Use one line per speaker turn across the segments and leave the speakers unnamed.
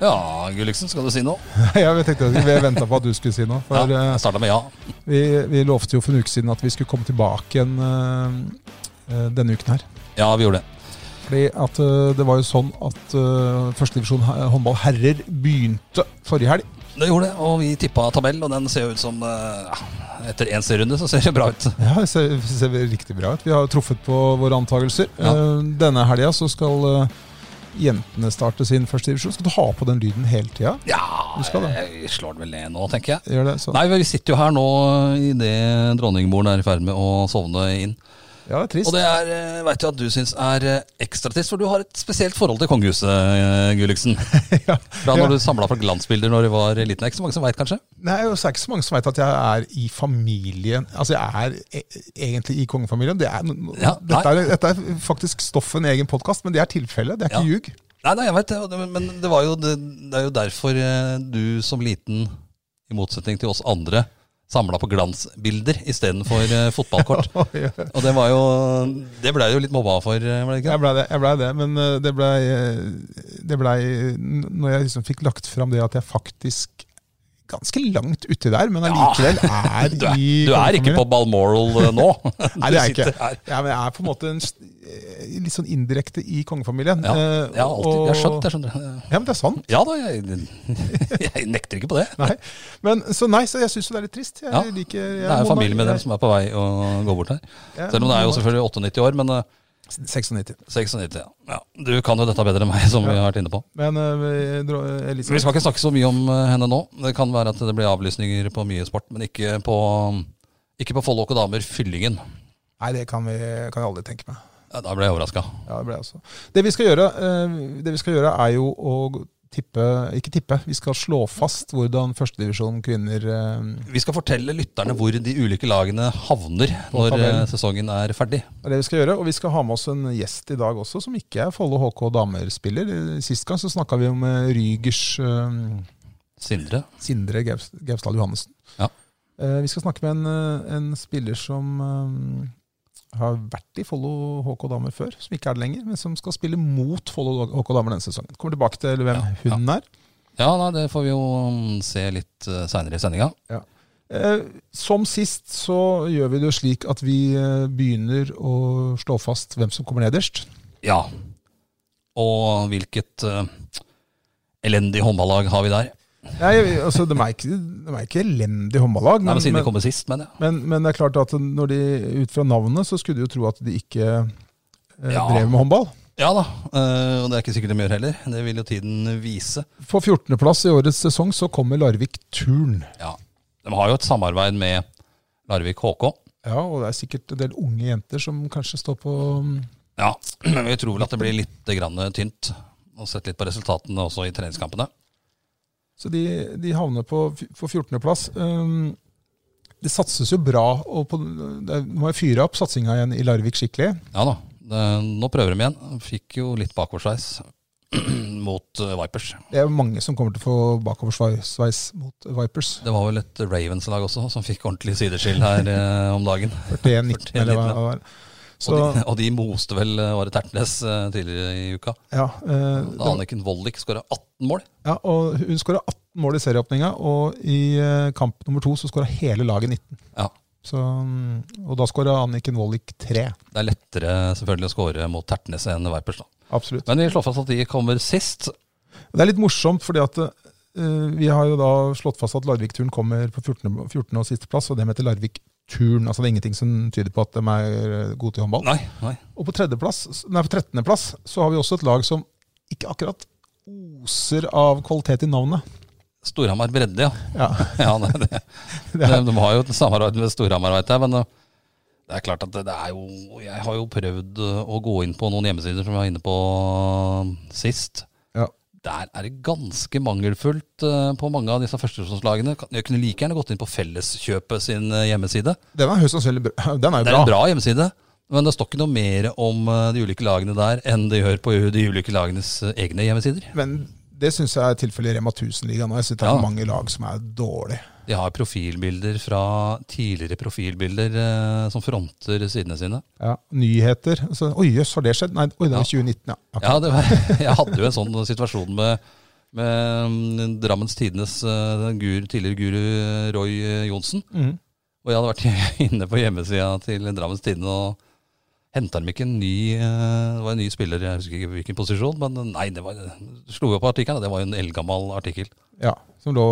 Ja, Gulliksen, skal du si noe?
Ja, vi tenkte at vi venta på at du skulle si noe. For
ja,
eh,
jeg starta med ja.
vi, vi lovte jo for en uke siden at vi skulle komme tilbake igjen eh, eh, denne uken her.
Ja, vi gjorde det.
Fordi at eh, det var jo sånn at uh, førstedivisjon håndball herrer begynte forrige helg.
Det gjorde det, og vi tippa tabell, og den ser jo ut som eh, ja, Etter én serierunde så ser det bra ut.
Ja, det ser, ser riktig bra ut. Vi har jo truffet på våre antakelser.
Ja.
Eh, denne helga så skal eh, jentene starte sin førstedivisjon. Skal du ha på den lyden hele tida?
Ja,
Du skal det.
jeg slår det vel ned nå, tenker jeg.
Gjør det? sånn? Så.
Nei, vi sitter jo her nå idet dronningmoren er i ferd med å sovne inn.
Ja, det er trist.
Og det er, veit jeg at du syns er eh, ekstra trist, for du har et spesielt forhold til kongehuset, eh, Gulliksen.
ja.
Fra
Ja.
når du samla på glansbilder når du var liten. Det er ikke så mange som veit, kanskje?
Nei, og så er det ikke så mange som veit at jeg er i familien Altså, jeg er e egentlig i kongefamilien. Det er,
Ja,
dette, er, dette er faktisk stoff for en egen podkast, men det er tilfellet. Det er ikke
Ja.
ljug.
Nei, nei, jeg vet det, og det, men det, var jo, det, det er jo derfor eh, du som liten, i motsetning til oss andre, samla på glansbilder istedenfor eh, fotballkort. Og det var jo Det blei du jo litt mobba for, eh, var det ikke?
Jeg blei det, jeg ble det, men eh, det blei eh, det ble, n- Når jeg liksom fikk lagt fram det at jeg faktisk Ganske langt uti der, men allikevel er
Du er,
i
du er ikke på Balmoral eh, nå.
Nei, det
Du
er jeg ikke.
sitter her.
Ja, men jeg er på en måte en, s- eh, litt sånn indirekte i kongefamilien.
Ja,
eh,
jeg har alltid, jeg har skjønt det,
og-
skjønner du.
Ja, men det er sant.
Ja da, jeg, jeg nekter ikke på det.
Nei. Men, så nei, så jeg syns jo det er litt trist. Jeg
Ja,
liker, jeg,
Det er jo
Mona-
familie med dem
jeg-
som er på vei å gå bort her.
Ja,
Selv om det er jo selvfølgelig 98 år, men eh,
96.
96, ja. ja. Du kan jo dette bedre enn meg, som vi har vært inne på.
Men eh, dro- Elisabeth
Vi skal ikke snakke så mye om eh, henne nå. Det kan være at det blir avlysninger på mye sport, men ikke på, ikke på Follåk og damer Fyllingen.
Nei, det kan, vi, kan jeg aldri tenke meg.
Ja, Da ble jeg overraska.
Ja, Det ble jeg også. Det vi skal gjøre, eh, det vi skal gjøre er jo å tippe Ikke tippe, vi skal slå fast hvordan førstedivisjon kvinner eh,
Vi skal fortelle lytterne hvor de ulike lagene havner
På
når eh,
tabellen.
sesongen er ferdig.
er det vi skal gjøre. Og vi skal ha med oss en gjest i dag også, som ikke er Follo HK damer-spiller. Eh, Sist gang så snakka vi om eh, Rygers eh,
Sindre.
Sindre Gaus- Gausdal Johannessen.
Ja.
Eh, vi skal snakke med en, eh, en spiller som eh, har vært i Follo HK Damer før, som ikke er det lenger, men som skal spille mot Follo HK Damer denne sesongen. Kommer tilbake til hvem
Ja,
hun er.
Ja, nei, det får vi jo mm, se litt seinere i sendinga.
Eh, som sist så gjør vi det jo slik at vi eh, begynner å slå fast hvem som kommer nederst.
Ja. Og hvilket eh, elendig håndballag har vi der?
Nei, jeg- altså, de, er ikke, de er ikke elendig håndballag,
Nei,
men,
men Siden vi
men,
kommer sist, mener jeg.
men, men det er klart at når de, ut fra navnet så skulle du jo tro at de ikke eh,
Ja.
drev med håndball.
Ja da, eh, og det er ikke sikkert de gjør heller. Det vil jo tiden vise.
På 14.-plass i årets sesong så kommer Larvik Turn.
Ja. De har jo et samarbeid med Larvik HK.
Ja, og det er sikkert en del unge jenter som kanskje står på um,
Ja, men vi tror vel at det blir litt grann tynt. Og sett litt på resultatene også i treningskampene.
Så de, de havner på, f- på 14.-plass. Um, det satses jo bra. og på, det er, Nå har jeg fyra opp satsinga igjen i Larvik skikkelig.
Ja da, det, nå prøver de igjen. Fikk jo litt bakoversveis mot eh, Vipers.
Det er mange som kommer til å få bakoversveis mot Vipers.
Det var vel et Ravens-lag også som fikk ordentlig sideskill her eh, om dagen.
41-19, eller hva
41-19,
det var. Så,
Og de, og de moste vel eh, Are Tertnes eh, tidligere i uka.
ja, eh, det
Da Anniken Wollik skåra 18 mål.
ja, og hun skåra 18 mål i serieåpninga, og i eh, kamp nummer to så skåra hele laget 19.
Ja,
Så, um, og da skåra Anniken Wollik tre.
Det er lettere selvfølgelig å skåre mot Tertnes enn Vipers. da.
Absolutt.
Men vi slår fast at de kommer sist.
Det er litt morsomt, fordi at eh, vi har jo da slått fast at Larvik-turen kommer på 14. 14. og siste plass, og dem heter Larvik-turen. Altså det er ingenting som tyder på at de er eh, gode til håndball.
Nei, nei.
Og på, tredjeplass- nei, på 13. plass så har vi også et lag som ikke akkurat oser av kvalitet i navnet.
Storhamar bredde, ja.
Ja,
ja det, det.
det
De,
er,
de har jo et samarbeid med Storhamar, vet jeg. Men eh, det er klart at det, det er jo Jeg har jo prøvd eh, å gå inn på noen hjemmesider som vi var inne på eh, sist.
ja.
der er det ganske mangelfullt eh, på mange av disse førstesesongslagene. Kan- Jeg kunne like gjerne gått inn på Felleskjøpet sin eh, hjemmeside.
Den er høyst sannsynlig bra. Den er
Det
jo
er
bra.
en bra hjemmeside, men det står ikke noe mer om eh, de ulike lagene der enn det gjør på de ulike lagenes eh, egne hjemmesider.
Men det syns jeg er tilfellet i Rema 1000-ligaen. Jeg syns det er
Ja.
mange lag som er dårlige.
De har profilbilder fra tidligere profilbilder eh, som fronter sidene sine.
Ja. Nyheter. Så, oi, jøss, har det skjedd? Nei, oi, det
Ja.
var 2019, ja. Ok.
Ja, det var, jeg hadde jo en sånn situasjon med, med mm, Drammens Tidenes eh, gur, tidligere guru Roy eh, Johnsen.
Mhm.
Og jeg hadde vært inne på hjemmesida til Drammens Tidende og henta dem ikke en ny eh, Det var en ny spiller, jeg husker ikke hvilken posisjon, men nei, det var, slo jo på artikkelen. Det var jo en eldgammel artikkel
ja. Som lå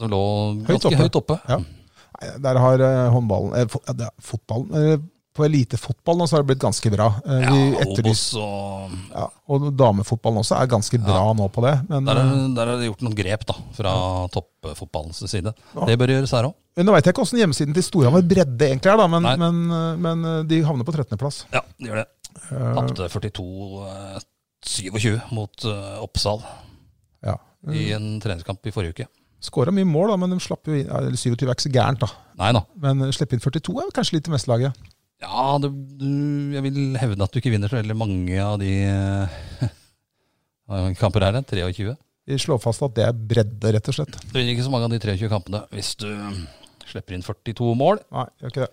som lå
Høyt
ganske
oppe.
høyt oppe.
Ja. Nei, der har eh, håndballen eh, fo- ja, det er fotballen eh, På elitefotballen også har det blitt ganske bra. Eh,
Ja,
vi
Obos
etterlyser-
og
ja, og damefotballen også er ganske bra nå på det. Men
der,
eh,
er- der er det gjort noen grep da, fra toppfotballens side.
Ja.
Det bør gjøres her òg.
men eh, nå veit jeg ikke åssen hjemmesiden til Storhamar Bredde egentlig er, da, men,
Nei.
men, eh, men eh, de havner på 13.-plass.
Ja, det gjør det. Eh. Tapte 42-27 mot eh, Oppsal
Ja.
i en treningskamp i forrige uke.
Skåra mye mål, da, men de slapp jo inn, ja, eller 27 er ikke så gærent, da.
Nei da.
Men eh, slippe inn 42 er kanskje litt til mesterlaget.
Ja, du, du, jeg vil hevde at du ikke vinner så veldig mange av de eh, hva mange kamper er det? 23?
Vi slår fast at det er bredde, rett og slett.
Du vinner ikke så mange av de 23 kampene hvis du slipper inn 42 mål.
Nei, gjør ikke det.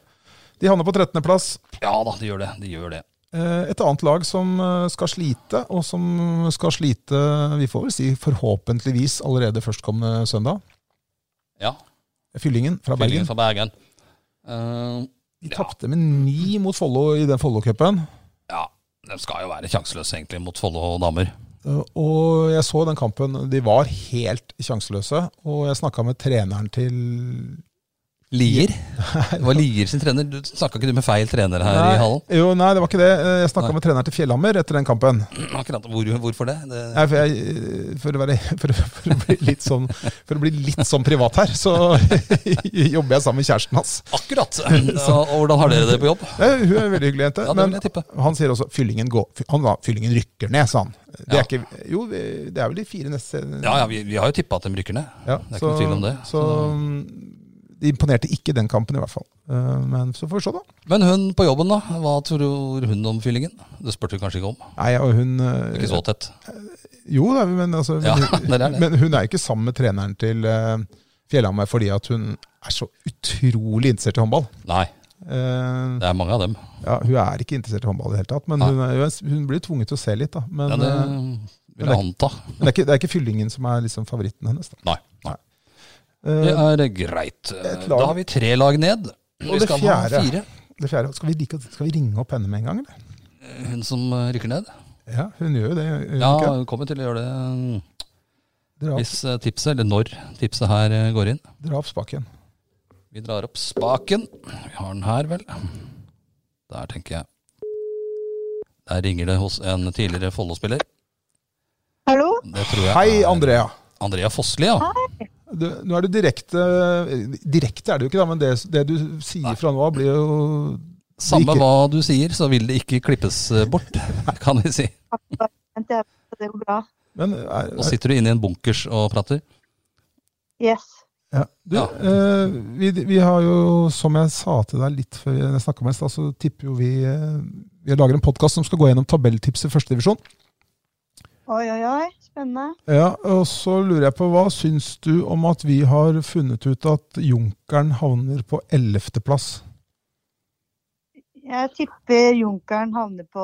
De havner på 13.-plass.
Ja da, de gjør det. De gjør det.
Eh, Et annet lag som eh, skal slite, og som skal slite vi får vel si forhåpentligvis allerede førstkommende søndag.
Ja.
Fyllingen fra
Bergen.
Bergen.
Fra Bergen. Eh,
De tapte med ni mot Follo i den Follo-cupen.
ja, de skal jo være sjanseløse egentlig mot Follo damer.
Eh, Og jeg så den kampen. De var helt sjanseløse. Og jeg snakka med treneren til
Lier? Det var Lier sin trener. Du snakka ikke du med feil trener her i hallen?
Jo, nei, det var ikke det. Eh,
Nei.
Jeg snakka med treneren til Fjellhammer etter den kampen.
Mm, Akkurat, hvor, Hvorfor det? det
Nei, for, jeg, for, å være, for, å- for, å bli litt sånn, for å bli litt sånn privat her, så jobber jeg sammen med kjæresten hans.
Akkurat! Og hvordan har dere det på jobb?
Nei, hun er en veldig hyggelig jente.
Ja, det vil
men
jeg tippe.
han sier også fyllingen, går, fy- han, da, fyllingen rykker ned, sa han. Det
Ja.
er ikke, jo, vi- det er vel de fire neste
Ja, ja, vi, vi har jo tippa at de rykker ned.
Ja,
det er ikke noe tvil om det.
Så, mm, de imponerte ikke den kampen, i hvert fall. Eh, Men så får vi se, da.
Men hun på jobben, da? Hva tror hun om fyllingen? Det spurte hun kanskje ikke om.
Nei, og hun
Ikke
eh,
så tett.
Jo, da, men, altså,
Ja,
men,
det er det.
men hun er jo ikke sammen med treneren til eh, Fjellhamar fordi at hun er så utrolig interessert i håndball.
Nei,
Eh,
det er mange av dem.
ja, hun er ikke interessert i håndball i det hele tatt, men
Nei.
hun, er, hun er- hun blir tvunget til å se litt. da. Men,
Ja, det
eh,
vil jeg anta.
men det, er ikke, det er ikke fyllingen som er liksom favoritten hennes. da.
Nei. nei.
Eh,
Det er greit.
et
Da
lag.
har vi tre lag ned.
Og
Vi
det
skal ha
fjerde.
fire.
Det fjerde, skal vi, like, skal vi ringe opp henne med en gang, eller?
Hun som eh, rykker ned.
Ja, hun gjør jo det. gjør hun
Ja,
ikke?
hun kommer til å gjøre det
Dra, opp-
hvis eh, tipset, eller når tipset her eh, går inn.
dra opp spaken.
Vi drar opp spaken. Vi har den her, vel. Der, tenker jeg. Der ringer det hos en tidligere Follo-spiller.
Hallo?
Det tror jeg
Hei,
er
Andrea.
Andrea Fossli, ja.
Du, nå er du direkte Direkte er det jo ikke, da, men det, det du sier fra nå av, blir jo
Samme
Like.
hva du sier, så vil det ikke klippes eh, bort, kan vi si.
Vent, jeg- Det går bra.
Men er,
Nå sitter du inne i en bunkers og prater.
Yes.
ja. Du,
Ja.
eh, vi, vi har jo, som jeg sa til deg litt før jeg snakka med deg, i stad, så tipper jo vi eh, Vi lager en podkast som skal gå gjennom tabelltips i førstedivisjon.
Oi, oi, oi. Spennende.
Ja, og så lurer jeg på hva syns du om at vi har funnet ut at Junkeren havner på 11.-plass?
Jeg tipper Junkeren havner på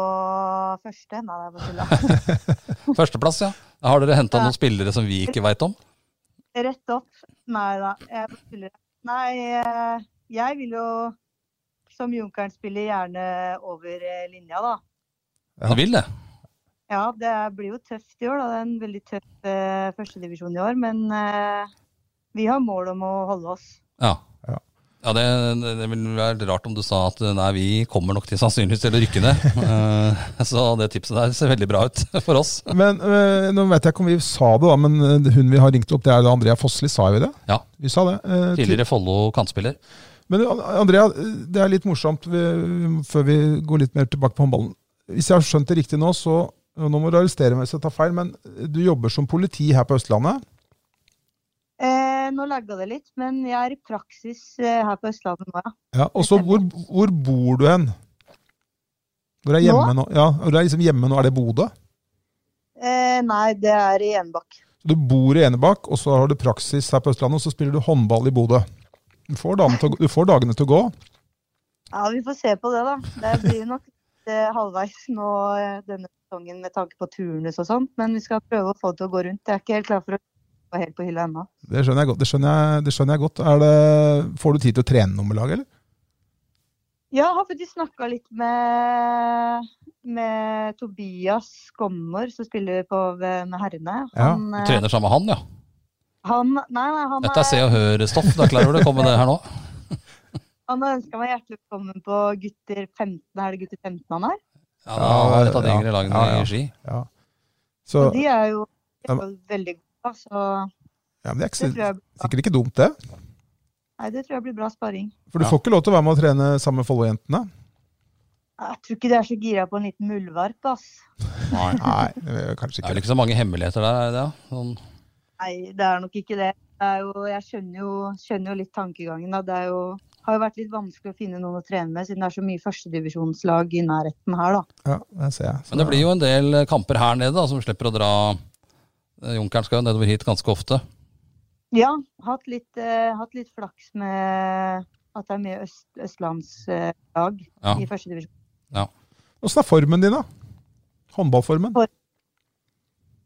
første. Nei, det er bare tulla.
Førsteplass, ja. Har dere henta
Ja.
noen spillere som vi ikke veit om?
Rett opp. Nei da. Jeg bare tuller. Nei, eh, jeg vil jo som Junkeren spiller gjerne over eh, linja, da.
Ja.
Du vil det?
Ja, det blir jo tøft i år. da. Det er en veldig tøff eh, førstedivisjon i år. Men eh, vi har mål om å holde oss.
Ja.
Ja.
Ja, det, det det ville vært rart om du sa at eh, nei, vi kommer nok til sannsynligvis til å rykke ned. Eh, Så det tipset der ser veldig bra ut for oss.
Men eh, nå vet jeg ikke om vi sa det, da, men eh, hun vi har ringt opp, det er da Andrea Fossli, sa vi det?
Ja.
Vi sa det. eh, til-
Tidligere Follo kantspiller.
Men An- Andrea, eh, det er litt morsomt vi, før vi går litt mer tilbake på håndballen. Hvis jeg har skjønt det riktig nå, så og Nå må du arrestere meg hvis jeg tar feil, men du jobber som politi her på Østlandet.
Eh, nå lagga det litt, men jeg er i praksis eh, her på Østlandet nå, ja.
Ja, og så hvor, hvor bor du hen? Hvor er hjemme nå? Ja, hvor er liksom hjemme nå? Er det Bodø?
Eh, nei, det er i Enebakk.
Så Du bor i Enebakk, og så har du praksis her på Østlandet, og så spiller du håndball i Bodø. Du får, dagen til, å gå- du får dagene til å gå.
Ja, vi får se på det, da. Det blir nok litt eh, halvveis nå eh, denne sesongen med tanke på turnus og sånt, men vi skal prøve å få det til å gå rundt. Jeg er ikke helt klar for å gå helt på hylla ennå.
Det skjønner jeg godt. Det skjønner jeg, det skjønner jeg godt. Er det, får du tid til å trene noe med laget, eller?
Ja, jeg har faktisk snakka litt med, med Tobias Skommer, som spiller på ved- med herrene.
Ja,
Han,
Du
eh,
trener sammen med han, ja.
han, nei, nei, han,
Dette er
er,
Se og Hør-stoff. Da klarer du å komme med det her nå.
han har ønska meg hjertelig velkommen på gutter 15. Er det gutter 15 han er?
Ja, da har vi et av de
Ja,
yngre lagene
ja, ja.
i Ski.
Ja. Så,
Og de er jo
Ja,
veldig gode, så
ja, men det er ikke,
det tror
så-
jeg, blir bra.
sikkert ikke dumt, det.
nei, det tror jeg blir bra sparring.
For du
Ja.
får ikke lov til å være med og trene sammen med Follo-jentene.
Jeg tror ikke de er så gira på en liten muldvarp, ass.
Nei.
Nei, det er kanskje
Det er
ikke
vel
det.
ikke så mange hemmeligheter der? er det det? Sånn,
Nei, det er nok ikke det. det er jo, jeg skjønner jo, skjønner jo litt tankegangen. Da. Det er jo, har jo vært litt vanskelig å finne noen å trene med, siden det er så mye førstedivisjonslag i nærheten her. da.
Ja, det ser jeg. Så
men det blir jo en del eh, kamper her nede da, som slipper å dra eh, Junkeren skal jo nedover hit ganske ofte.
Ja, hatt litt, eh, hatt litt flaks med at det er mye øst, østlandslag
Ja.
i førstedivisjon.
Åssen er formen din, da? Håndballformen?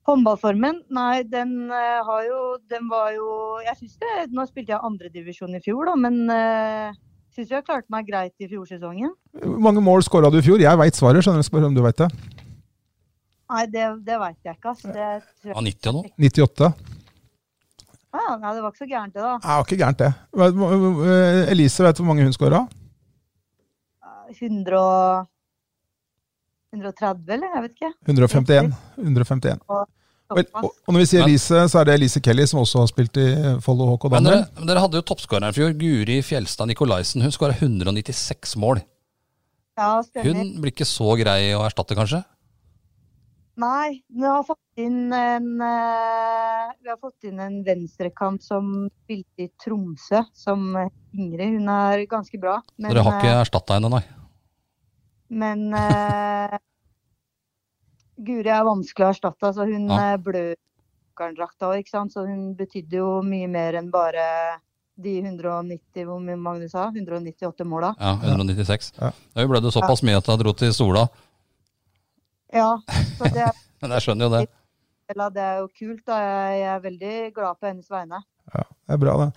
Håndballformen, nei, den eh, har jo Den var jo Jeg syns det Nå spilte jeg andredivisjon i fjor, da, men uh, syns jeg klarte meg greit i fjorsesongen.
Hvor mange mål skåra du i fjor? Jeg veit svaret, skjønner du. Spør om du veit det.
Nei, det, det veit jeg ikke, ass. Det tror jeg
Ja, 90 og noe.
98.
Ja, nei, det var ikke så gærent, det, da.
Ja, ikke gærent, det. Hva- hva- hva- Elise, veit du hvor mange hun skåra?
100 og 130, eller? Jeg vet ikke.
151. 151. Og,
Såpass.
og og når vi sier
Men-
Elise, så er det Elise Kelly, som også har spilt i eh, Follo HK
Men dere,
Damer.
men dere hadde jo toppskåreren i fjor, Guri Fjelstad Nikolaisen. Hun skåra 196 mål.
Ja, stemmer.
Hun blir ikke så grei å erstatte, kanskje?
Nei, vi har fått inn en eh, Vi har fått inn en venstrekant som spilte i Tromsø, som Ingrid. Hun er ganske bra. Men,
Dere har ikke
eh,
erstatta henne, nei.
men eh, Guri er vanskelig å erstatte. Altså, hun
Ja.
eh, blør Jokeren-drakta òg, ikke sant. Så hun betydde jo mye mer enn bare de 190, hvor mye Magnus sa? 198 måla.
Ja, 196.
Ja.
Da ble det såpass mye at hun dro til Sola.
Ja, så det er,
Men jeg skjønner jo det.
eller det er jo kult. Da. Jeg, jeg er veldig glad på hennes vegne.
Ja, det er bra, det.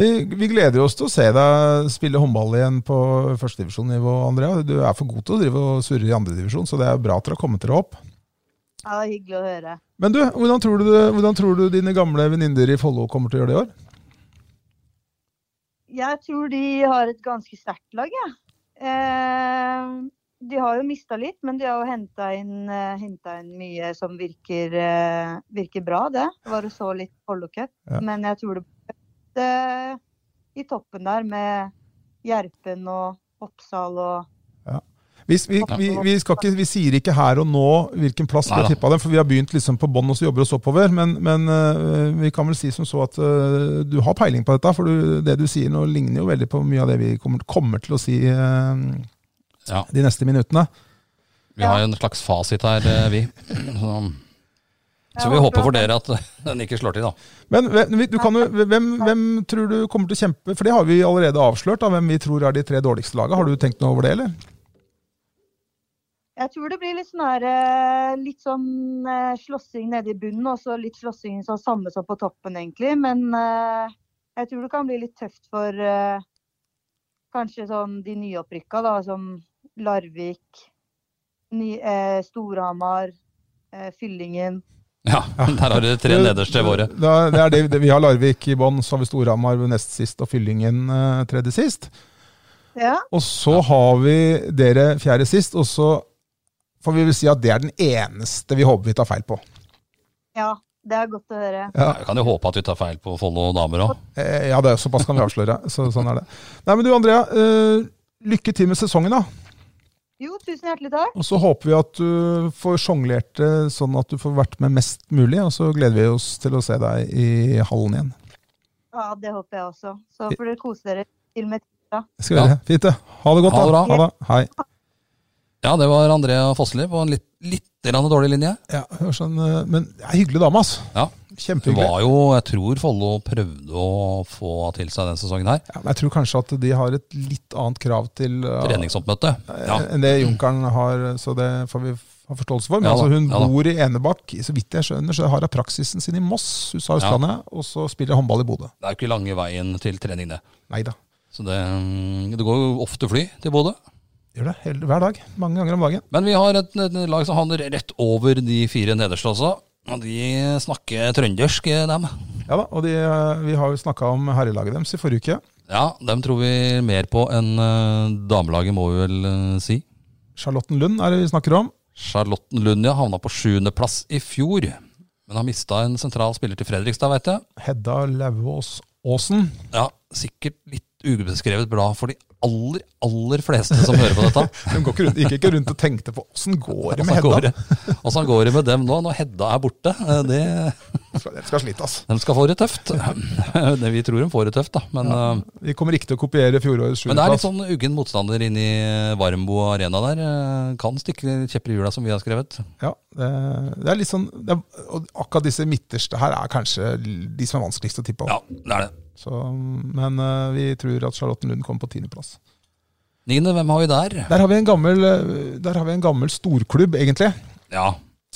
Vi, vi gleder oss til å se deg spille håndball igjen på førstedivisjonnivå, Andrea. Du er for god til å drive og surre i andredivisjon, så det er bra at dere har kommet dere opp.
Ja, det er hyggelig å høre.
Men du, hvordan tror du, hvordan tror du dine gamle venninner i Follo kommer til å gjøre det i år?
Jeg tror de har et ganske sterkt lag, jeg. Eh, de har jo mista litt, men de har jo henta inn, eh, hentet inn mye som virker, eh, virker bra, det. Det Var og så litt Follo Cup.
Ja.
Men jeg tror det blir eh, i toppen der med Gjerpen og Oppsal og
Vi, vi, vi, vi, skal ikke, vi sier ikke her og nå hvilken plass vi har
Neida.
tippa dem, for vi har begynt liksom på bånn og så jobber oss oppover. Men, men øh, vi kan vel si som så at øh, du har peiling på dette, for du, det du sier nå ligner jo veldig på mye av det vi kommer, kommer til å si øh,
Ja.
de neste minuttene.
Vi har jo en slags fasit her, eh, vi. Så, så vi
Ja,
håper
bra.
for dere at den ikke slår til, da.
Men hvem, du kan, jo- hvem, hvem tror du kommer til å kjempe? For det har vi allerede avslørt, da, hvem vi tror er de tre dårligste lagene. Har du tenkt noe over det, eller?
Jeg tror det blir litt sånn her eh, Litt sånn eh, slåssing nede i bunnen, og så litt slåssing sånn samme som på toppen, egentlig. Men eh, jeg tror det kan bli litt tøft for eh, kanskje sånn de nyopprykka, da, som Larvik, ny, eh, Storhamar, eh, Fyllingen.
Ja, Der har dere tre nederste våre.
Da, det er det, det, vi har Larvik i bånn, så har vi Storhamar nest sist og Fyllingen øh, tredje sist.
Ja,
Og så har vi dere fjerde sist, og så får vi vel si at det er den eneste vi håper vi tar feil på.
ja, det er godt å høre.
Ja,
Vi kan jo håpe at vi tar feil på Follo damer òg.
eh, ja det er såpass kan vi avsløre. Så, sånn er det. Nei, men du Andrea, eh, lykke til med sesongen, da.
Jo, tusen hjertelig takk.
Og så håper vi at du får sjonglert det sånn at du får vært med mest mulig, og så gleder vi oss til å se deg i hallen igjen.
Ja, det håper jeg også. Så får dere kose dere til med
Det skal vi gjøre. Fint, det. Ha det godt,
Ha det
da.
bra.
Hei.
Ja, det var Andrea Fossli på en litt, litt grann dårlig linje.
Ja, hør sånn, eh, men det er hyggelig dame, altså.
Ja. Det
Kjempehyggelig.
var jo, jeg tror Follo prøvde å få til seg den sesongen her.
Ja, men jeg tror kanskje at de har et litt annet krav til eh,
Treningsoppmøte. Ja.
enn det Junkeren har, så det får vi ha forståelse for. Men
Ja da,
altså, hun
ja da.
bor i Enebakk, så vidt jeg skjønner, så har hun praksisen sin i Moss, hun sa Østlandet, og så spiller hun håndball i Bodø.
Det er jo ikke lange veien til trening, det.
Nei da.
Så det, mm, det går jo ofte fly til Bodø.
Gjør det hele, hver dag. Mange ganger om dagen.
Men vi har et, et lag som havner rett over de fire nederste også. Og de snakker trøndersk, eh, dem.
Ja da, og de, eh, Vi har jo snakka om herrelaget deres i forrige uke.
Ja, dem tror vi mer på enn eh, damelaget, må vi vel eh, si.
Charlottenlund er det vi snakker om.
Charlottenlund ja, havna på sjuendeplass i fjor. Men har mista en sentral spiller til Fredrikstad, veit jeg.
Hedda Lauvås Aasen.
Ja, sikkert litt ubeskrevet bra for de aller, aller fleste som hører på dette.
Hun går ikke rundt, gikk ikke rundt og tenkte på åssen går det med
Åssen går
Hedda?
det- Åssen går det med dem nå, når Hedda er borte? Eh, Det,
Skal- Dere skal slite, altså.
de skal få det tøft. Det, vi tror de får det tøft, da. Men, eh,
Vi kommer ikke til å kopiere fjorårets
men det er litt
sjuendeplass.
sånn uggen motstander inne i Varmbo arena der. Eh, Kan stikke kjepper i hjula, som vi har skrevet.
Ja, det, det er litt sånn det er, og Akkurat disse midterste her er kanskje de som er vanskeligst å tippe. om.
Ja, det er det.
Så, men eh, vi tror at Charlottenlund kommer på tiendeplass.
Niende, hvem har vi der?
Der har vi en gammel, eh, der har vi en gammel storklubb, egentlig,
Ja,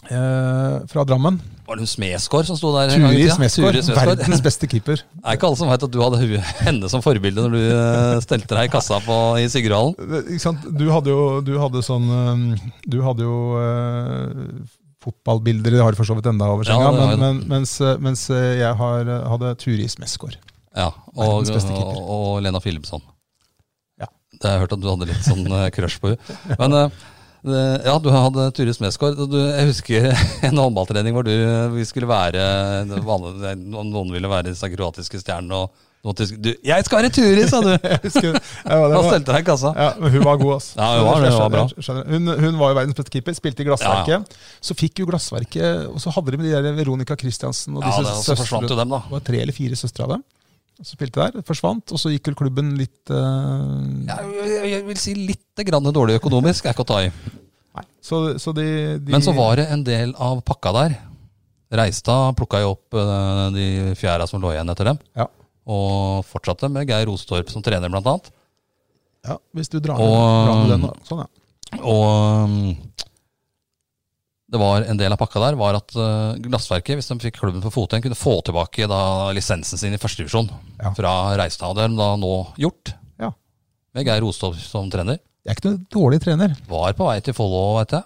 eh, fra Drammen.
var det hun Smedsgaard som sto der? en gang i
Turid
tida?
Smesgaard,
Turid Smedsgaard.
verdens beste keeper.
Det er ikke alle som veit at du hadde hu- henne som forbilde når du eh, stelte deg i kassa på, i Sigurdhallen.
Det- Ikke sant? Du hadde jo, du hadde sånn eh, Du hadde jo eh, fotballbilder, det har du for så vidt enda over senga,
Ja, det har jeg.
men, men, mens, eh, mens eh, jeg har, eh, hadde Turis Meskår.
Ja, og,
Verdens beste
og,
keeper.
og Lena Philipsson.
Ja.
Det har jeg hørt at du hadde litt sånn eh, crush på henne. Men eh, det- ja, du hadde Turis Mesgaard. og du- Jeg husker en håndballtrening hvor du, eh, vi skulle være det vanlige- det er noen- Noen ville være disse kroatiske stjernene, og noen tyske du, 'Jeg skal være Turis', sa du!
Jeg husker- ja, det
Da
var-
stelte deg i kassa.
Ja, men hun var god, altså.
Ja, hun var det,
Jeg
hun var
skjønner- jeg skjønner. Hun, hun var jo verdens beste keeper, spilte i Glassverket. Så fikk jo Glassverket, og så hadde de med de der Veronica Christiansen og
Ja,
disse
det, og så forsvant jo dem, da.
Det var tre eller fire søstre av dem. som spilte der, forsvant, og så gikk vel klubben litt eh,
Ja, Jeg, jeg vil si litt grann dårlig økonomisk, er ikke å ta i.
så, så de, de
Men så var det en del av pakka der. Reistad plukka jo opp eh, de fjæra som lå igjen etter dem.
Ja.
Og fortsatte med Geir Rostorp som trener, blant annet.
ja, Hvis du drar
Og-
ned den, da. Sånn, ja.
Og mm, det var en del av pakka der var at eh, Glassverket, hvis de fikk klubben på fote igjen, kunne få tilbake da, lisensen sin i førstedivisjon
Ja.
fra Reistad. Det har de da nå gjort,
Ja.
med Geir Rostorp som trener.
Jeg er ikke noen dårlig trener.
Var på vei til Follo, veit jeg.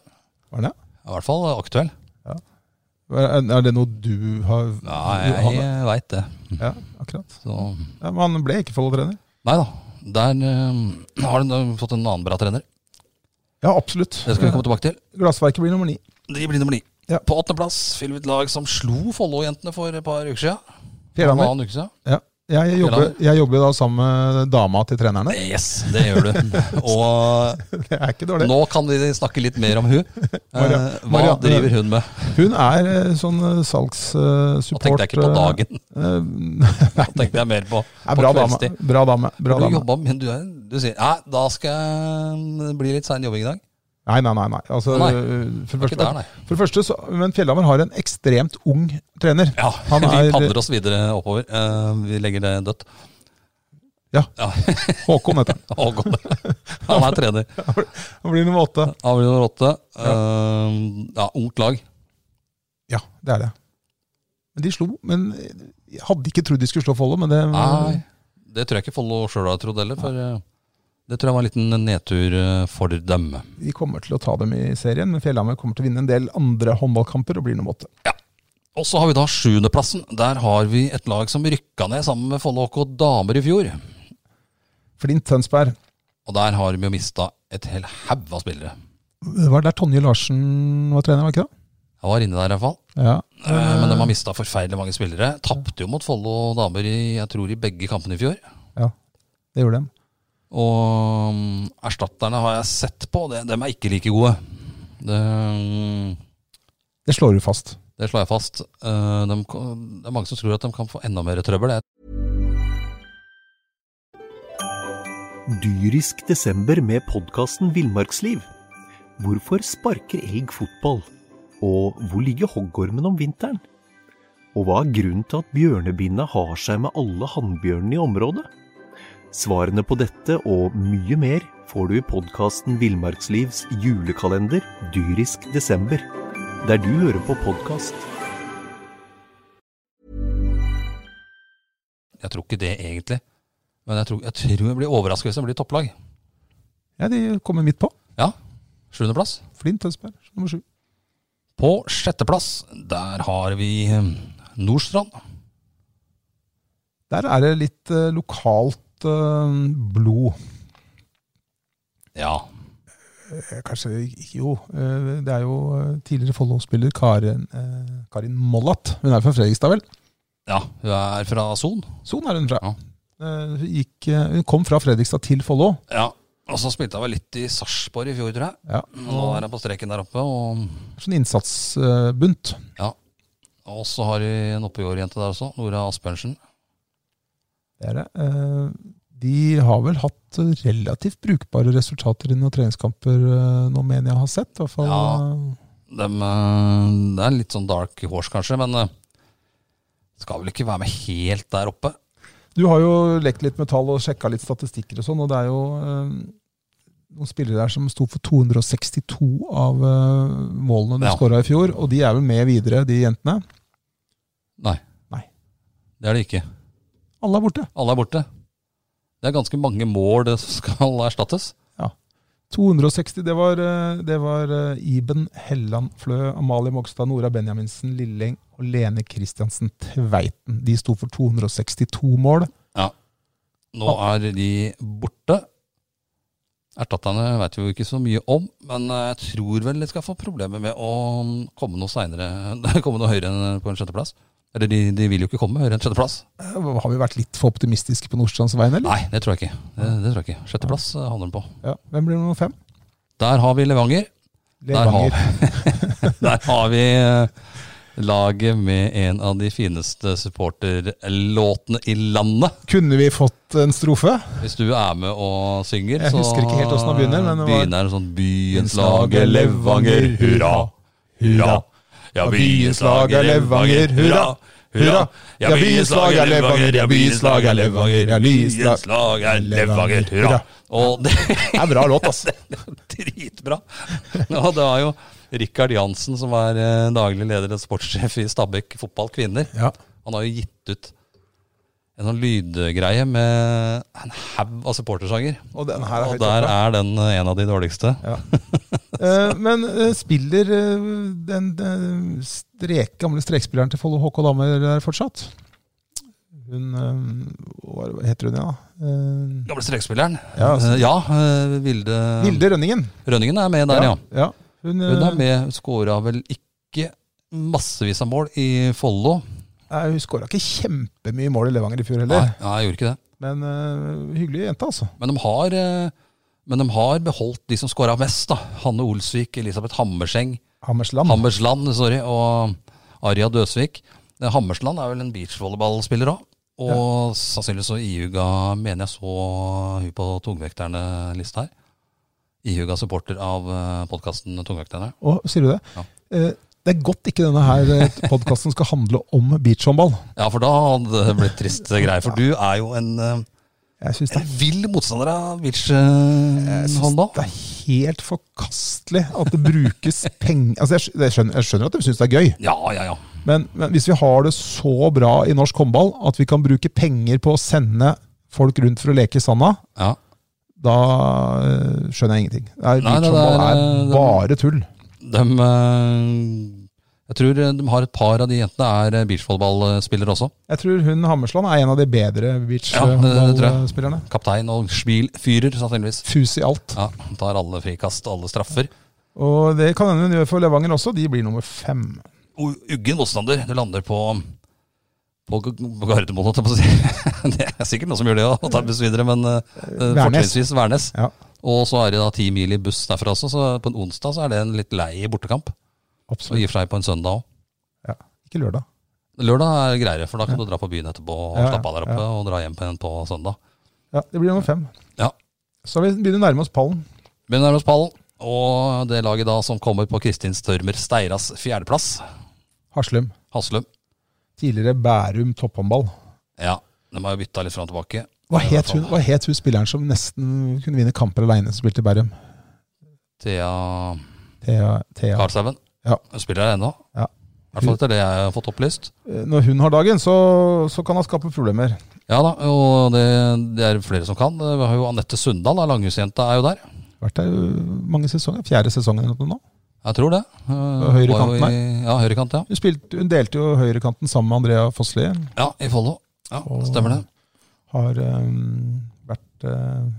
Var det?
I hvert fall aktuell.
Er er det noe du har
Ja,
du har-
jeg veit det.
Ja, akkurat.
Så
Ja, men han ble ikke Follo-trener.
Nei da. Der eh, har de eh, fått en annen bra trener.
Ja, absolutt.
Det skal vi komme tilbake til.
Glassverket blir nummer ni.
De blir nummer ni.
Ja.
På åttendeplass fyller vi et lag som slo Follo-jentene for et par uker siden.
Fjellhammer.
En annen uke siden.
Ja. Jeg jobber, jeg jobber da sammen med dama til trenerne.
Yes, det gjør du. Og eh,
Det er ikke dårlig.
nå kan vi snakke litt mer om hun. Eh, Hva
Marianne-
driver hun med?
Hun er eh, sånn
Nå
salgssupport.
tenkte jeg ikke på dagen. Nå tenkte jeg mer på,
er
på
eh, bra dame.
kveldstid.
Bra dame. Bra
Du
dame.
jobba, men du, er, du sier Nei, da skal jeg bli litt sein jobbing i dag.
Nei, nei, nei. nei. Altså,
Nei,
eh, for,
Ikke
det første,
der, nei.
for det første så, Men Fjellhammer har en ekstremt ung trener.
Ja,
Han
vi
er-
padler oss videre oppover. Eh, vi legger det dødt.
Ja.
ja.
Håkon heter han.
Å, godt. Han er trener.
Han blir nummer åtte.
Han blir nummer åtte. Eh, ja, ungt lag.
Ja, det er det. Men de slo. Men jeg hadde ikke trodd de skulle slå Follo, men det
Nei, det tror jeg ikke Follo sjøl har trodd heller. For eh, det tror jeg var en liten nedtur eh, for dem.
de kommer til å ta dem i serien. Men Fjellhammer kommer til å vinne en del andre håndballkamper og blir nummer åtte.
Og så har vi da sjuendeplassen. Der har vi et lag som rykka ned sammen med Follo HK damer i fjor.
Flint Tønsberg.
Og der har vi jo mista et hel haug av spillere.
Det var der Tonje Larsen var trener, var ikke det?
Jeg var inne der i hvert fall.
Ja.
Eh, Men de har mista forferdelig mange spillere. Tapte jo mot Follo damer i jeg tror i begge kampene i fjor.
ja, det gjorde de.
Og mm, erstatterne har jeg sett på, det, dem er ikke like gode. Det, mm,
Det slår du fast.
det slår jeg fast. Eh, dem kan- det er mange som tror at de kan få enda mer trøbbel. Jeg,
Dyrisk desember med podkasten Villmarksliv. Hvorfor sparker elg fotball? Og hvor ligger hoggormen om vinteren? Og hva er grunnen til at bjørnebinna har seg med alle hannbjørnene i området? Svarene på dette og mye mer får du i podkasten Villmarkslivs julekalender Dyrisk desember, der du hører på podkast.
jeg tror ikke det egentlig. Men jeg tror jeg, tror jeg blir overrasket hvis det blir topplag.
Ja, De kommer midt på.
Ja, sjuendeplass.
Flint Tønsberg, nummer sju.
På sjetteplass, der har vi eh, Nordstrand.
Der er det litt eh, lokalt eh, blod.
Ja,
Eh, Kanskje ikke Jo, eh, det er jo eh, tidligere Follo-spiller Karin, eh, Karin Mollat. Hun er fra Fredrikstad, vel?
ja hun er fra Son.
Sånn er hun fra.
Ja.
Eh, Hun, gikk, eh, hun kom fra Fredrikstad til Follo.
Ja, og så spilte hun vel litt i Sarpsborg i fjor, tror jeg.
Ja.
Nå er hun på streken der oppe. Og,
Sånn innsatsbunt.
og så har vi en oppe i år jente der også, Nora Asbjørnsen.
Det er det. Eh, De har vel hatt relativt brukbare resultater i noen treningskamper, eh, nå mener jeg å ha sett. I hvert fall.
Ja. Dem, eh, det er litt sånn dark horse, kanskje, men eh, skal vel ikke være med helt der oppe.
Du har jo lekt litt med tall og sjekka litt statistikker og sånn, og det er jo eh, noen spillere der som sto for 262 av eh, målene du
Ja.
skåra i fjor, og de er vel med videre, de jentene.
Nei.
Nei.
Det er det ikke.
Alle er borte.
Alle er borte. Det er ganske mange mål det som skal erstattes.
260, det var, eh, det var eh, Iben Helland Flø, Amalie Mogstad, Nora Benjaminsen, Lilleng og Lene Kristiansen Tveiten. De sto for 262 mål.
Nå er de borte. Erstatterne vet vi jo ikke så mye om, men eh, jeg tror vel de skal få problemer med å komme noe senere, komme noe høyere enn på en sjetteplass. Eller de, de vil jo ikke komme høyere enn sjetteplass.
Eh, Har vi vært litt for optimistiske på Nordstrands vegne, eller?
Nei, det tror jeg ikke. Det, det tror jeg ikke. Sjetteplass eh, handler den på.
Ja. Hvem blir nummer fem?
Der har vi Levanger. Der har
Levanger.
Der har vi eh, laget med en av de fineste supporterlåtene i landet.
Kunne vi fått en strofe?
Hvis du er med og synger,
Jeg husker ikke helt hvordan den begynner, men det var-
begynner den sånn Byens lag er Levanger, hurra, hurra. Ja, byens lag er Levanger, hurra, hurra. Ja, byens lag er Levanger, ja, byens lag er Levanger, ja, byens lag er Levanger, hurra. Og det
Det er en bra låt, altså.
Dritbra. Og det var jo Rikard Jansen, som er eh, daglig leder og sportssjef i Stabæk fotball kvinner.
Ja.
Han har jo gitt ut en sånn lydgreie med en haug av supportersanger.
Og den her er
Og
høyt
der
oppe.
er den eh, en av de dårligste.
Eh, Men eh, spiller eh, den, den strek, gamle strekspilleren til Follo HK Damer der fortsatt? Hun eh, Hva er det- heter hun, ja? Eh,
Gamle strekspilleren.
Ja, altså.
Eh, ja eh, Vilde,
Vilde Rønningen.
Rønningen er med der, ja.
ja. Hun, eh,
Hun er med, skåra vel ikke massevis av mål i Follo.
nei, hun skåra ikke kjempemye mål i Levanger i fjor
Nei,
heller,
nei, jeg gjorde ikke det.
men eh, hyggelig jente, altså.
Men de har, eh, men de har beholdt de som skåra mest. da. Hanne Olsvik, Elisabeth Hammerseng,
Hammersland.
Hammersland sorry, og Aria Døsvik. Eh, Hammersland er vel en beachvolleyballspiller òg. Og sannsynligvis så ihuga, mener jeg så hun på tungvekterne-lista her. Ihuga supporter av podkasten Tungvekterne.
Og sier du det?
Ja.
Eh, Det er godt ikke denne her podkasten skal handle om beachhåndball.
Ja, for da hadde det blitt triste greier. For du er jo en, eh,
Jeg syns det
en vill motstander av Eh, beachhåndball.
Det er helt forkastelig at det brukes penger altså jeg, skj- jeg, skjønner, jeg skjønner at de syns det er gøy,
Ja, ja, ja.
men, men hvis vi har det så bra i norsk håndball at vi kan bruke penger på å sende folk rundt for å leke i sanda,
ja.
da eh, skjønner jeg ingenting. Det er,
Nei, det er- eh,
Beachhåndball er
det er-
bare tull.
De, eh, jeg tror de har et par av de jentene er eh, beachvolleyballspillere også.
Jeg tror hun Hammersland er en av de bedre
Ja, det tror jeg.
beachhåndballspillerne.
Kaptein og smilfyrer, sannsynligvis.
Fus i alt.
Ja, Tar alle frikast, alle straffer.
Og det kan hende hun gjør for Levanger også, de blir nummer fem.
U- Uggen motstander. Du lander på på G- på Gardermoen, holdt jeg på å si. Det er sikkert noen som gjør det òg, tar buss videre, men eh,
Værnes.
fortrinnsvis Værnes.
Ja.
Og så er det da ti mil i buss derfra også, så på en onsdag så er det en litt lei bortekamp. Og i
Absolutt.
og for seg på en søndag òg.
Ikke lørdag.
Lørdag er greiere, for da kan du dra på byen etterpå og
Ja, ja,
slappe av der oppe, og dra hjem på en på søndag.
Ja, det blir nummer fem.
Ja.
Så vi begynner å nærme oss pallen.
Vi nærmer oss pallen, og det laget da som kommer på Kristin Størmer Steiras fjerdeplass,
Haslum.
Haslum.
Tidligere Bærum topphåndball.
Ja, de har jo bytta litt fram og tilbake.
Hva
I
het
hvert
hun,
fall
hva het hun spilleren som nesten kunne vinne kamper aleine, som spilte i Bærum?
Thea
Thea, Thea.
Karlshaugen.
Ja.
Hun spiller her ennå.
Ja.
I hvert fall etter det jeg har fått opplyst.
Eh, Når hun har dagen, så, så kan hun skape problemer.
Ja da, og det, det er flere som kan. Vi har jo Anette Sundal, da, langhusjenta, er jo der.
Vært der ø, mange sesonger. Fjerde sesongen eller noe nå.
Jeg tror det. Eh,
høyre
var jo
kanten
i- Ja, høyrekant, ja.
Hun, spilte, hun delte jo høyrekanten sammen med Andrea Fossli.
Ja, i Follo. Ja,
Og-
stemmer det.
Har øhm, vært uh,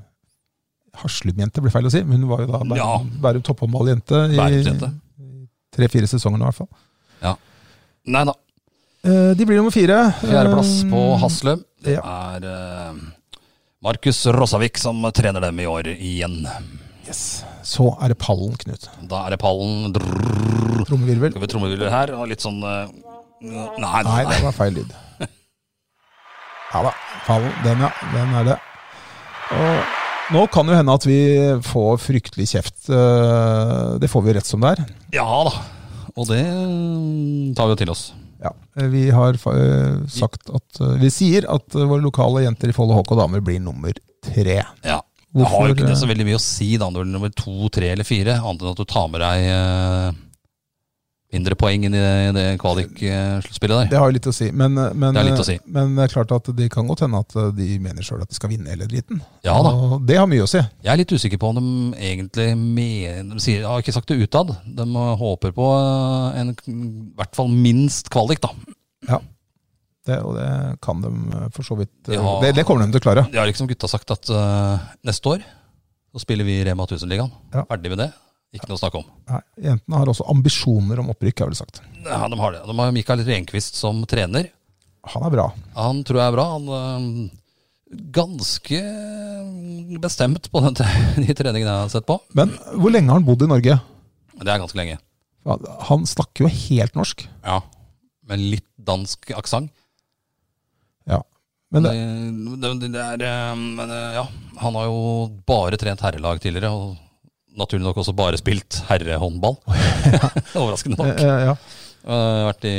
Haslum-jente, blir feil å si, men hun var jo da Bærum,
Ja.
Bærum topphåndballjente i
Bærumsjente.
tre-fire sesonger nå, i hvert fall.
Nei da.
Eh, de blir nummer fire.
Fjerdeplass
Eh,
på Haslum. Det
ja.
er eh, Markus Rossavik som trener dem i år igjen.
Yes. Så er det pallen, Knut.
Da er det pallen drrrr,
Trommevirvel.
Skal vi trommevirvel her, og litt sånn eh, Nei,
Nei,
nei.
det var feil lyd. Ja da. Pallen, den, ja. Den er det. Og nå kan jo hende at vi får fryktelig kjeft. eh, Det får vi jo rett som det er.
Ja da. Og det eh, tar vi jo til oss.
Ja, eh, Vi har fa- eh, sagt at eh, Vi sier at eh, våre lokale jenter i Follo HK damer blir nummer tre.
Ja. Det har jo
Hvorfor,
ikke det så
eh,
veldig mye å si da, om du er nummer to, tre eller fire, annet enn at du tar med deg eh, mindre poeng inn i det, det kvalik-sluttspillet der.
Det har jo litt å si. Men, eh, men,
Det er litt
eh,
å si.
men det er klart at det kan godt hende at eh, de mener sjøl at de skal vinne hele driten.
Ja da.
Og det har mye å si.
Jeg er litt usikker på om de egentlig mener De sier, har ikke sagt det utad. De håper på eh, en i hvert fall minst kvalik, da.
Det, og det kan de eh, for så vidt eh,
Ja.
det, det kommer de til å klare.
Det har liksom gutta sagt at eh, neste år så spiller vi Rema 1000-ligaen.
Ja.
Ferdig med det. Ikke noe å snakke om.
Nei, Jentene har også ambisjoner om opprykk, har jeg vel sagt.
Ja, de har det. De har Mikael Renqvist som trener.
Han er bra.
Han tror jeg er bra. Han er ganske eh, bestemt på den, de treningene jeg har sett på.
Men hvor lenge har han bodd i Norge?
Det er ganske lenge.
Han- Han snakker jo helt norsk.
Ja. Med litt dansk aksent.
Ja. Men
Det,
det,
det, det er eh, Men eh, ja, han har jo bare trent herrelag tidligere. Og naturlig nok også bare spilt herrehåndball. Overraskende
eh,
nok.
eh, ja.
Eh, vært i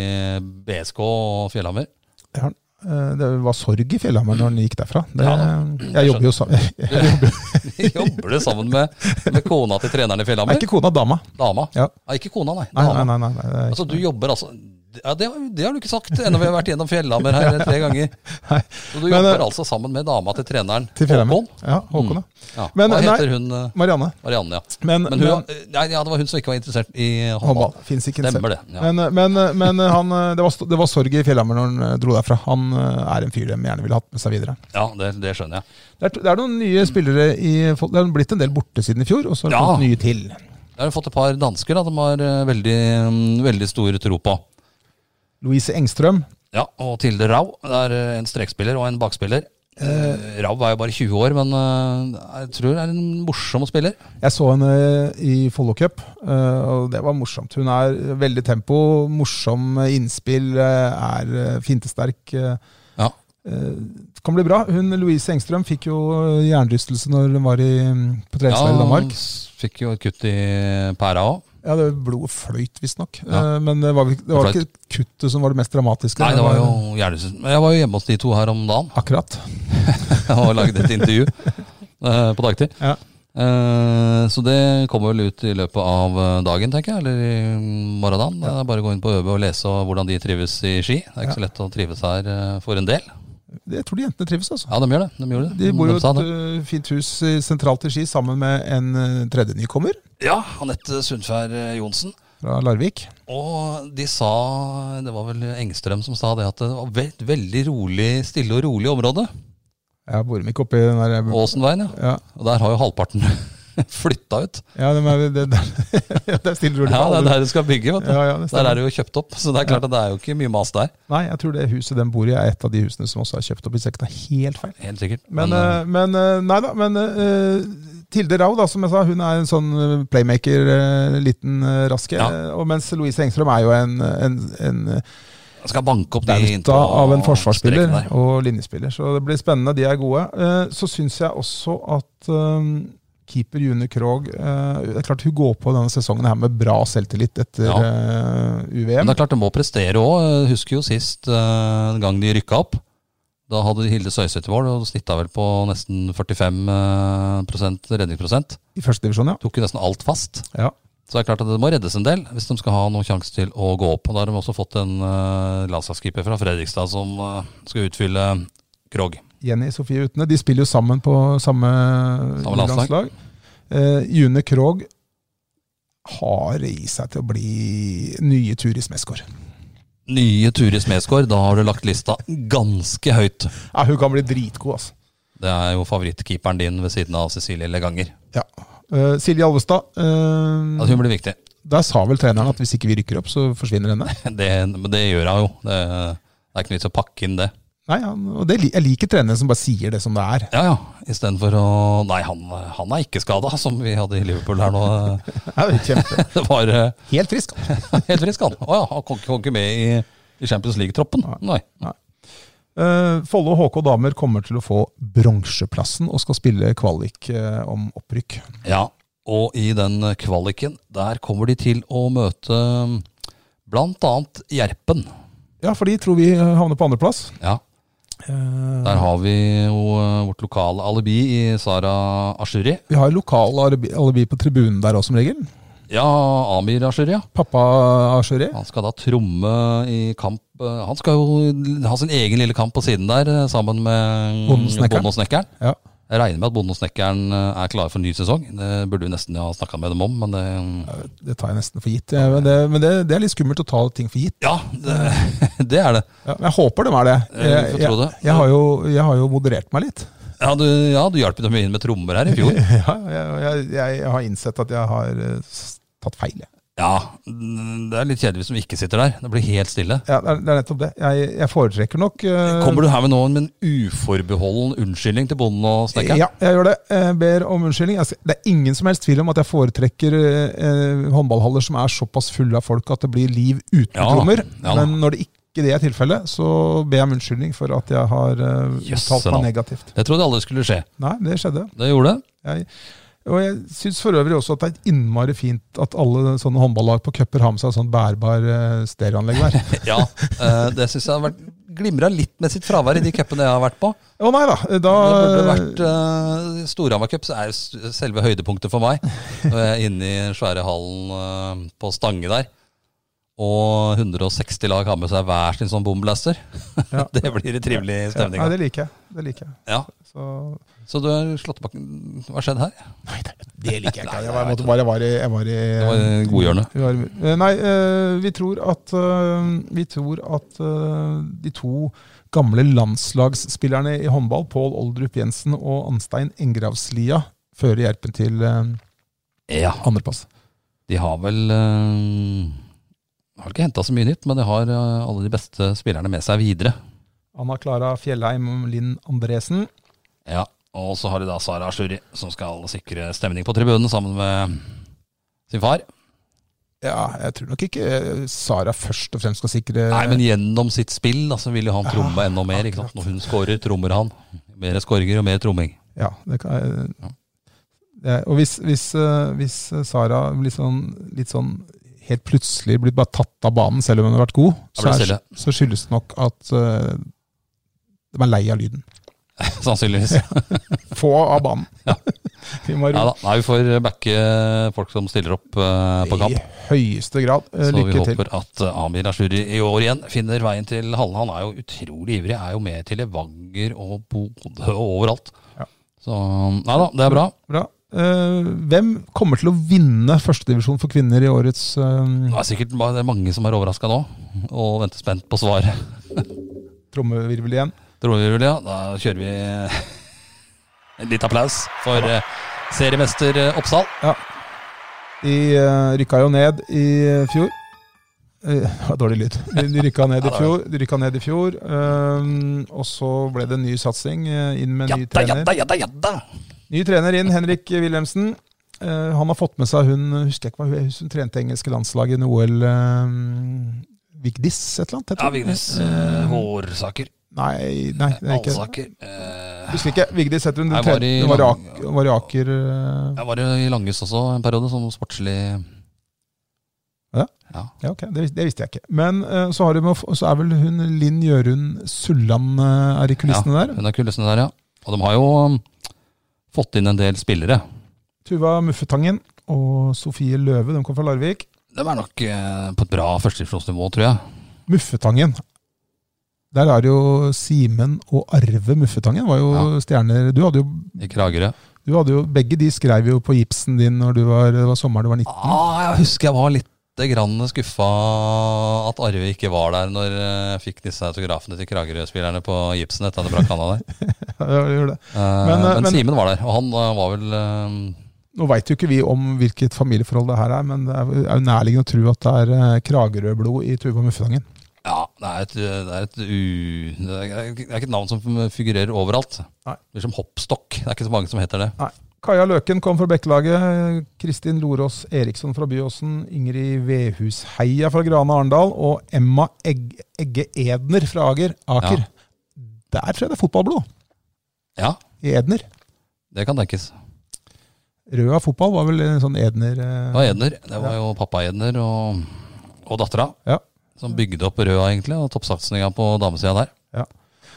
BSK og Fjellhammer.
det har han. Eh, det var sorg i Fjellhammer når han gikk derfra. Det,
Ja
jeg jobber jo sammen
Jobber du sammen med, med kona til treneren i
Er
Fjellhammer?
ikke kona dama?
Dama?
Ja.
Nei, ikke kona, nei.
Nei,
Dama.
nei, nei. nei, nei, det er
Altså,
ikke-
du jobber altså ja, det, har- det har du ikke sagt ennå. Vi har vært gjennom Fjellhammer her tre ganger.
Nei.
Så du
Men,
jobber
eh,
altså sammen med dama til treneren.
Til Fjellhammer.
Håkon.
Ja, Håkon, ja.
Ja.
Men,
Hva
nei.
heter hun? eh,
Marianne.
Marianne, ja.
Men,
Men hun, nei, ja, det var hun som ikke var interessert i håndball.
håndball. Fins ikke en selv.
Stemmer det. Ja.
Men, men, men han, eh, det, var, det var sorg i Fjellhammer når han dro derfra. Han eh, er en fyr de gjerne ville hatt med seg videre.
ja, det, det skjønner jeg.
Det er, det er noen nye spillere i Fol- Det har blitt en del borte siden i fjor, og så har det
Ja.
kommet nye til.
Der har vi fått et par dansker da, de har eh, veldig, mm, veldig stor tro på.
Louise Engstrøm.
Ja, og Tilde Rau. Det er eh, en strekspiller og en bakspiller. Eh, Rau er jo bare 20 år, men eh, jeg tror er en morsom spiller.
Jeg så henne i Follo Cup, eh, og det var morsomt. Hun er veldig tempo, morsom innspill, eh, er eh, fintesterk. eh,
Ja.
eh, Kan bli bra. Hun, Louise Engstrøm fikk jo jernrystelse når hun var i, mm, på treningsleir i Danmark.
s- fikk jo et kutt i pæra òg.
Ja, det blodet fløyt visstnok.
Ja.
Ja. Men det var, vel- det var
Det fløyt.
ikke kuttet som var det mest dramatiske.
Nei, det var jo hjernerystelse. Men Jeg var jo hjemme hos de to her om dagen
Akkurat.
og lagde et intervju eh, på dagtid.
Ja.
Eh, Så det kommer vel ut i løpet av eh, dagen, tenker jeg. Eller i morgendagen. Det er Bare gå inn på ØB og lese om hvordan de trives i ski. Det er ikke så lett å trives her eh, for en del.
Jeg tror de jentene trives, altså.
Ja, de gjør det. De, gjorde det.
De bor jo i
Mm, sa
et
det.
ø, fint hus i- sentralt i Ski sammen med en ø, tredje nykommer
Ja, Anette Sundfær eh, Johnsen.
fra Larvik.
Og de sa, det var vel Engstrøm som sa det, at det var ve veldig rolig, stille og rolig område.
Jeg bor dem ikke oppi den der
Åsenveien, ja.
ja.
Og der har jo halvparten Flytta ut.
Ja, det, men det, det, det stiller rolig på
Ja, Det er
alle.
der du skal bygge. vet du.
Ja, ja, det
Der
stemmer.
er det jo kjøpt opp, så det er klart at det er jo ikke mye mas der.
Nei, jeg tror det huset den bor i er et av de husene som også er kjøpt opp, hvis jeg ikke tar helt feil.
Helt sikkert.
Men, eh, men eh, nei da, men eh, Tilde Rau, da, som jeg sa, hun er en sånn eh, playmaker, eh, liten eh, raske.
Ja.
eh, Og mens Louise Engstrøm er jo en, en, en
Jeg eh, skal banke opp de
bauta
innpå
av en forsvarsspiller
streken der.
og linjespiller. Så det blir spennende, de er gode. Eh, Så syns jeg også at eh, keeper June Krogh eh, Det er klart hun går på denne sesongen her med bra selvtillit etter
Ja.
eh,
Men
UVM.
det er klart du må prestere òg. Husker jo sist eh, den gang de rykka opp. Da hadde Hilde Søyseth mål og snitta vel på nesten 45 eh, prosent redningsprosent.
I første divisjon, ja.
Tok jo nesten alt fast.
ja.
Så det er klart at det må reddes en del hvis de skal ha noen sjanse til å gå opp. Og Da har de også fått en uh, landslagskeeper fra Fredrikstad som eh, skal utfylle Krog.
Jenny Sofie Utne. De spiller jo sammen på samme,
Samme landslag.
landslag. Eh, June Krogh har i seg til å bli nye Turis Meskår.
Nye Turid Smedsgaard, da har du lagt lista ganske høyt.
Ja, hun kan bli dritgod, altså.
Det er jo favorittkeeperen din ved siden av Cecilie Leganger.
Ja. Eh, Silje Alvestad. eh,
Altså, hun blir viktig.
der sa vel treneren at hvis ikke vi rykker opp, så forsvinner henne.
Det, men det gjør hun jo. Det, det er ikke noe vits å pakke inn det.
Nei, han, og det, li- Jeg liker trenere som bare sier det som det er.
Ja, ja. Istedenfor å Nei, han, han er ikke skada, som vi hadde i Liverpool her nå.
Ja, det er kjempe.
Det var eh,
Helt frisk. altså.
helt frisk, han. Å ja, han kom, ikke- kom ikke med i, i Champions League-troppen. Nei.
Eh, Follo HK damer kommer til å få bronseplassen og skal spille kvalik eh, om opprykk.
Ja, og i den kvaliken, der kommer de til å møte blant annet Gjerpen.
Ja, for de tror vi eh, havner på andreplass.
Ja,
Eh,
der har vi jo eh, vårt lokale alibi i Sara Ashuri.
Vi har lokal alibi, alibi på tribunen der også, som regel.
Ja, Amir Ashuri, ja.
Pappa Ashuri.
Han skal da tromme i kamp eh, Han skal jo ha sin egen lille kamp på siden der, eh, sammen med
Bonden og snekkeren.
Bonden og snekkeren.
Ja.
Jeg regner med at Bonden og snekkeren eh, er klare for en ny sesong. Det burde vi nesten ha snakka med dem om, men det
Det tar jeg nesten for gitt. Ja, men det, men det, det er litt skummelt å ta ting for gitt.
Ja, det, det er det.
Ja, men jeg håper de er det.
Eh, vi får tro
jeg,
det.
jeg, har jo, jeg har jo moderert meg litt.
Ja, du, ja, du hjalp dem inn med trommer her i fjor.
Ja, jeg, jeg, jeg har innsett at jeg har eh, s- tatt feil. jeg.
Ja, det er litt kjedelig hvis de ikke sitter der. Det blir helt stille.
Ja, det, er, det er nettopp det. Jeg, jeg foretrekker nok eh,
Kommer du her med noen med en uforbeholden unnskyldning til bonden og snekkeren?
Ja, jeg gjør det. Jeg ber om unnskyldning. Jeg skal- Det er ingen som helst tvil om at jeg foretrekker eh, håndballhaller som er såpass fulle av folk at det blir liv uten
Ja da,
trommer.
ja da.
Men når det ikke det er tilfellet, så ber jeg om unnskyldning for at jeg har eh,
Jøsse
uttalt
navn.
meg negativt.
Det trodde jeg aldri skulle skje.
Nei, det skjedde.
Det gjorde det.
Jeg, og jeg syns for øvrig også at det er innmari fint at alle sånne håndballag på cuper har med seg sånn bærbar eh, stereoanlegg der.
Ja, eh, det syns jeg har vært glimra litt med sitt fravær i de cupene jeg har vært på.
Å nei da! Da
Det burde vært uh, Storhamar Cup, så er jo s- selve høydepunktet for meg. Når jeg er inne i den svære hallen eh, på Stange der, og 160 lag har med seg hver sin sånn bomblaster.
Ja.
Det blir en trivelig stemning.
Nei,
da.
det liker jeg. Det liker jeg.
Ja,
Så
Så du har slått tilbake Hva har skjedd her?
Nei, det, det liker jeg ikke.
Nei,
Jeg,
jeg
var- jeg
vet
måtte bare jeg var i, jeg var i
Det var i godhjørnet.
Vi har- eh, Nei, eh, vi tror at, eh, vi tror at eh, de to gamle landslagsspillerne i håndball, Pål Oldrup Jensen og Anstein Engravslia, fører Gjerpen til eh,
Ja.
andreplass.
De har vel eh, Har ikke henta så mye nytt, men de har eh, alle de beste spillerne med seg videre.
Anna Klara Fjellheim Linn Andresen.
Ja, Og så har de da Sara Ashuri, som skal sikre stemning på tribunen sammen med sin far.
Ja, jeg tror nok ikke eh, Sara først og fremst skal sikre
Nei, men gjennom sitt spill da, så vil jo han tromme enda mer. ikke sant? Når hun scorer, trommer han. Mer skorger og mer tromming.
Ja, det kan, eh,
Ja.
det, er- og hvis, hvis, eh, hvis eh, Sara blir sånn, litt sånn helt plutselig blir bare tatt av banen selv om hun har vært god,
Da
så,
blir det
er,
stille.
så skyldes det nok at eh, de er lei av lyden.
Sannsynligvis.
Få av banen.
Ja.
Vi må ro-
Nei da, nei, vi får backe folk som stiller opp eh, på kamp.
I høyeste grad. Eh,
Så vi
Lykke til.
håper at eh, Amir Ashuri i år igjen finner veien til hallen. Han er jo utrolig ivrig. Er jo med til Levanger og Bodø og overalt.
Ja.
Så nei da, det er bra.
Bra. Eh, hvem kommer til å vinne førstedivisjon for kvinner i årets eh,
Det er sikkert ma- det er mange som er overraska nå, og venter spent på svaret.
trommevirvel igjen?
Tror vi, Julia? Da kjører vi en liten applaus for eh, Seriemester eh, Oppsal.
De eh, rykka jo ned i eh, fjor. Eh, det var dårlig lyd. De, de rykka ned i fjor. De rykka ned i fjor eh, og så ble det en ny satsing. eh, inn med ny
Jadda,
trener.
jadda, jadda, jadda!
Ny trener inn, Henrik Wilhelmsen. Eh, han har fått med seg hun husker jeg ikke hva hun, hun trente engelske landslaget under OL. eh, Vigdis et eller annet? heter
Ja,
hun.
Vignes.
Eh,
Hårsaker.
Nei, nei, det er ikke
Allsaker. eh,
Husker ikke. Vigdis heter hun. Hun
Nei, var
trente-
i
hun var i
Lang-
Ak- var i Aker eh,
Jeg var jo i Langhus også en periode, som sportslig
Ja, ok, det, vis- det visste jeg ikke. Men eh, så, har du med, å få- så er vel hun Linn Jørund Sulland eh, er i kulissene der.
Hun er kul, den der, ja. Og de har jo um, fått inn en del spillere.
Tuva Muffetangen og Sofie Løve, de kommer fra Larvik.
De er nok eh, på et bra førstedivisjonsnivå, tror jeg.
Muffetangen. Der er det jo Simen og Arve Muffetangen var jo stjerner. Du hadde jo,
I Kragerø.
du hadde jo Begge de skrev jo på gipsen din når du var, det var sommeren du var 19.
Ah, jeg husker jeg var litt grann skuffa at Arve ikke var der når eh, jeg fikk disse autografene til Kragerø-spillerne på gipsen etter at det brakk handa der.
Ja, det gjorde det.
Eh,
Men,
men
eh, men-
Simen var der, og han eh, var vel eh,
Nå veit jo ikke vi om hvilket familieforhold det her er, men det er jo er jo nærliggende å tro at det er eh, Kragerø-blod i Tuva Muffetangen.
Ja, det er, et, det, er et u, det er ikke det er ikke et navn som figurerer overalt.
Nei.
Det er som hoppstokk. Det er ikke så mange som heter det.
Kaja Løken kom fra Bekkelaget. Kristin Lorås Eriksson fra Byåsen. Ingrid Vedhusheia fra Grane Arendal. Og Emma Egg Egge Edner fra Aker. Aker.
Ja.
Der tror jeg det er fotballblod.
Ja,
I Edner.
det kan tenkes.
Røa fotball var vel en sånn Edner eh,
Det var Edner. Det var jo pappa Edner og, og dattera.
Ja.
Som bygde opp Røa, egentlig, og toppsatsinga på damesida der.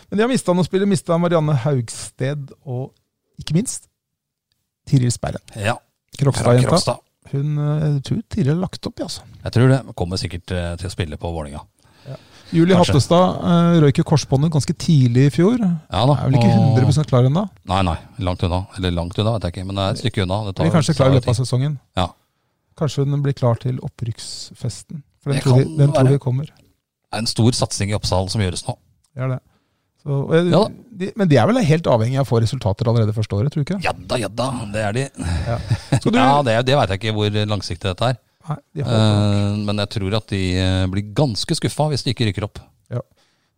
Men de har mista noen spillere. Mista Marianne Haugsted og ikke minst Tiril Sperre.
Ja, fra
Krokstad-jenta.
Krokstad.
Hun eh, jeg tror Tiril har lagt opp, ja, altså.
Jeg tror det. Kommer sikkert eh, til å spille på Vålinga.
Julie
Kanskje.
Hattestad eh, røyk jo korsbåndet ganske tidlig i fjor.
Ja da.
Er vel ikke
og-
100 klar ennå.
Nei, nei. Langt unna. Eller langt unna, vet jeg ikke. Men det er et stykke unna. Det, tar-
Blir kanskje klar i løpet av sesongen.
Ja.
Kanskje hun blir klar til opprykksfesten. For den
Det
tror, vi,
kan
den tror
være.
vi kommer.
Det er en stor satsing i Oppsal som gjøres nå.
Det er det. Så, og jeg,
Ja da.
de, men de er vel helt avhengig av å få resultater allerede første året, tror du ikke?
Jadda, jadda. Det er de.
Skal du,
Ja, det, det veit jeg ikke hvor langsiktig dette er.
Nei, de holder.
Eh, men jeg tror at de eh, blir ganske skuffa hvis de ikke rykker opp.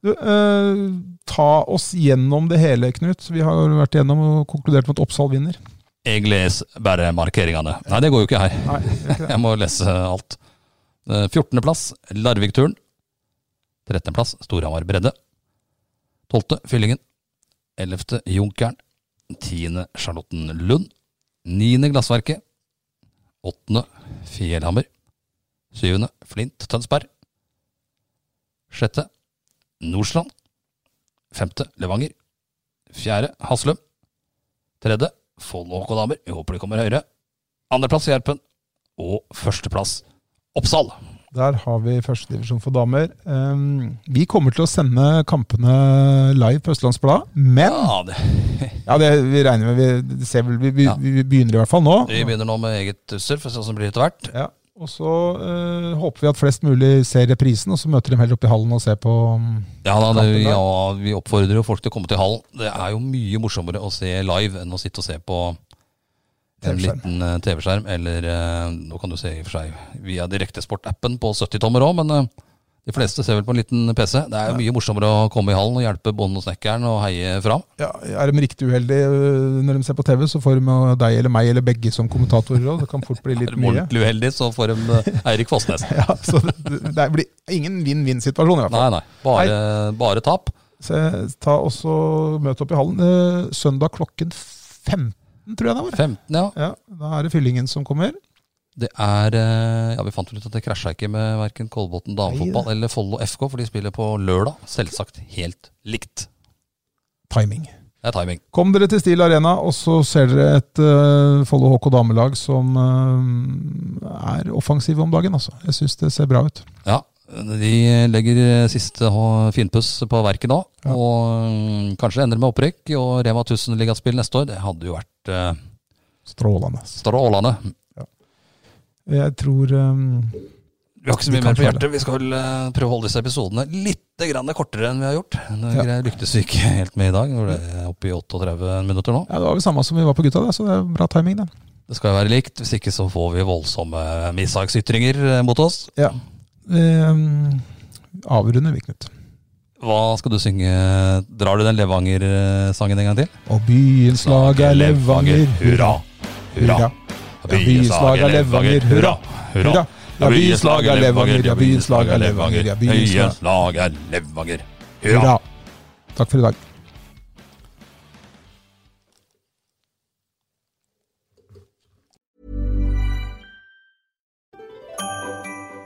du, eh, ta oss gjennom det hele, Knut. Vi har jo vært gjennom og konkludert med at Oppsal vinner.
Jeg leser bare markeringene. Nei, det går jo ikke her.
Nei, det er ikke det.
Jeg må lese alt. Eh, 14. plass, Larvik-turen. 13. plass, Storhamar Bredde. 12. Fyllingen. 11. Junkeren. 10. Charlotten Lund. 9. Glassverket. 8. Fjellhammer. 7. Flint Tønsberg. 6. Nordsland. 5. Levanger. 4. Haslum. 3. Follo og Kodamer. Jeg håper de kommer høyere. Andreplass Gjerpen og førsteplass Oppsal.
Der har vi førstedivisjon for damer. Eh, vi kommer til å sende kampene live på Østlandsbladet, men
Ja, det,
Ja, det, vi regner med vi, det ser vel, vi, vi,
Ja.
vi begynner i hvert fall nå.
Vi begynner nå med eget surf, for å se hvordan det blir etter hvert.
Ja. Og så eh, håper vi at flest mulig ser reprisen, og så møter de heller opp i hallen og ser på mm,
Ja, da, det,
Kampen der.
ja, Vi oppfordrer jo folk til å komme til hallen. Det er jo mye morsommere å se live enn å sitte og se på en
TV-skjerm.
liten eh, TV-skjerm. Eller eh, nå kan du se i og for seg via Direktesport-appen på 70-tommer òg, men eh, de fleste ser vel på en liten PC. Det er jo mye morsommere å komme i hallen og hjelpe bonden og snekkeren og heie fram.
ja, Er de riktig uheldige øh, når de ser på TV, så får de jo deg eller meg eller begge som kommentatorer òg. Det kan fort bli
Er
litt
de
mye.
ordentlig uheldige, så får de eh, Eirik Fossnes.
Ja, så det det blir ingen vinn-vinn-situasjon, i hvert fall.
Nei, nei. Bare, bare tap.
Så ta også møt opp i hallen eh, søndag klokken 15, tror jeg det var.
15, ja.
Ja, Da er det fyllingen som kommer.
Det er eh, Ja, vi fant vel ut at det krasja ikke med verken Kolbotn damefotball eller Follo FK, for de spiller på lørdag. Selvsagt helt likt.
Timing.
Det er timing.
Kom dere til Stil Arena, og så ser dere et eh, Follo HK damelag som eh, er offensive om dagen. Altså. Jeg syns det ser bra ut.
Ja, de legger eh, siste hå- finpuss på verket nå.
Ja.
Og mm, kanskje det ender med opprykk og Rema 1000-ligaspill neste år. Det hadde jo vært eh,
Strålende. altså.
strålende.
Jeg tror eh,
Vi har ikke så
Vi
mye mer
kan
på
klare det.
hjertet. Vi skal vel eh, prøve å holde disse episodene litt grann kortere enn vi har gjort. Det
Ja.
gre- lyktes vi ikke helt med i dag. Nå er det oppe i 38 minutter nå.
Ja, Det var vel samme som vi var på gutta, det, så det er bra timing. det.
Det skal jo være likt, hvis ikke så får vi voldsomme mishagsytringer eh, mot oss.
Vi ehm, avrunder vi, Knut.
Hva skal du synge? Drar du den Levanger-sangen en gang til?
Og byens lag er Levanger, hurra, hurra. Ja, byens lag er Levanger, hurra, hurra. Ja, byens lag er Levanger, ja, byens lag er Levanger, ja, byens lag
lag er Levanger,
hurra. Takk for i dag.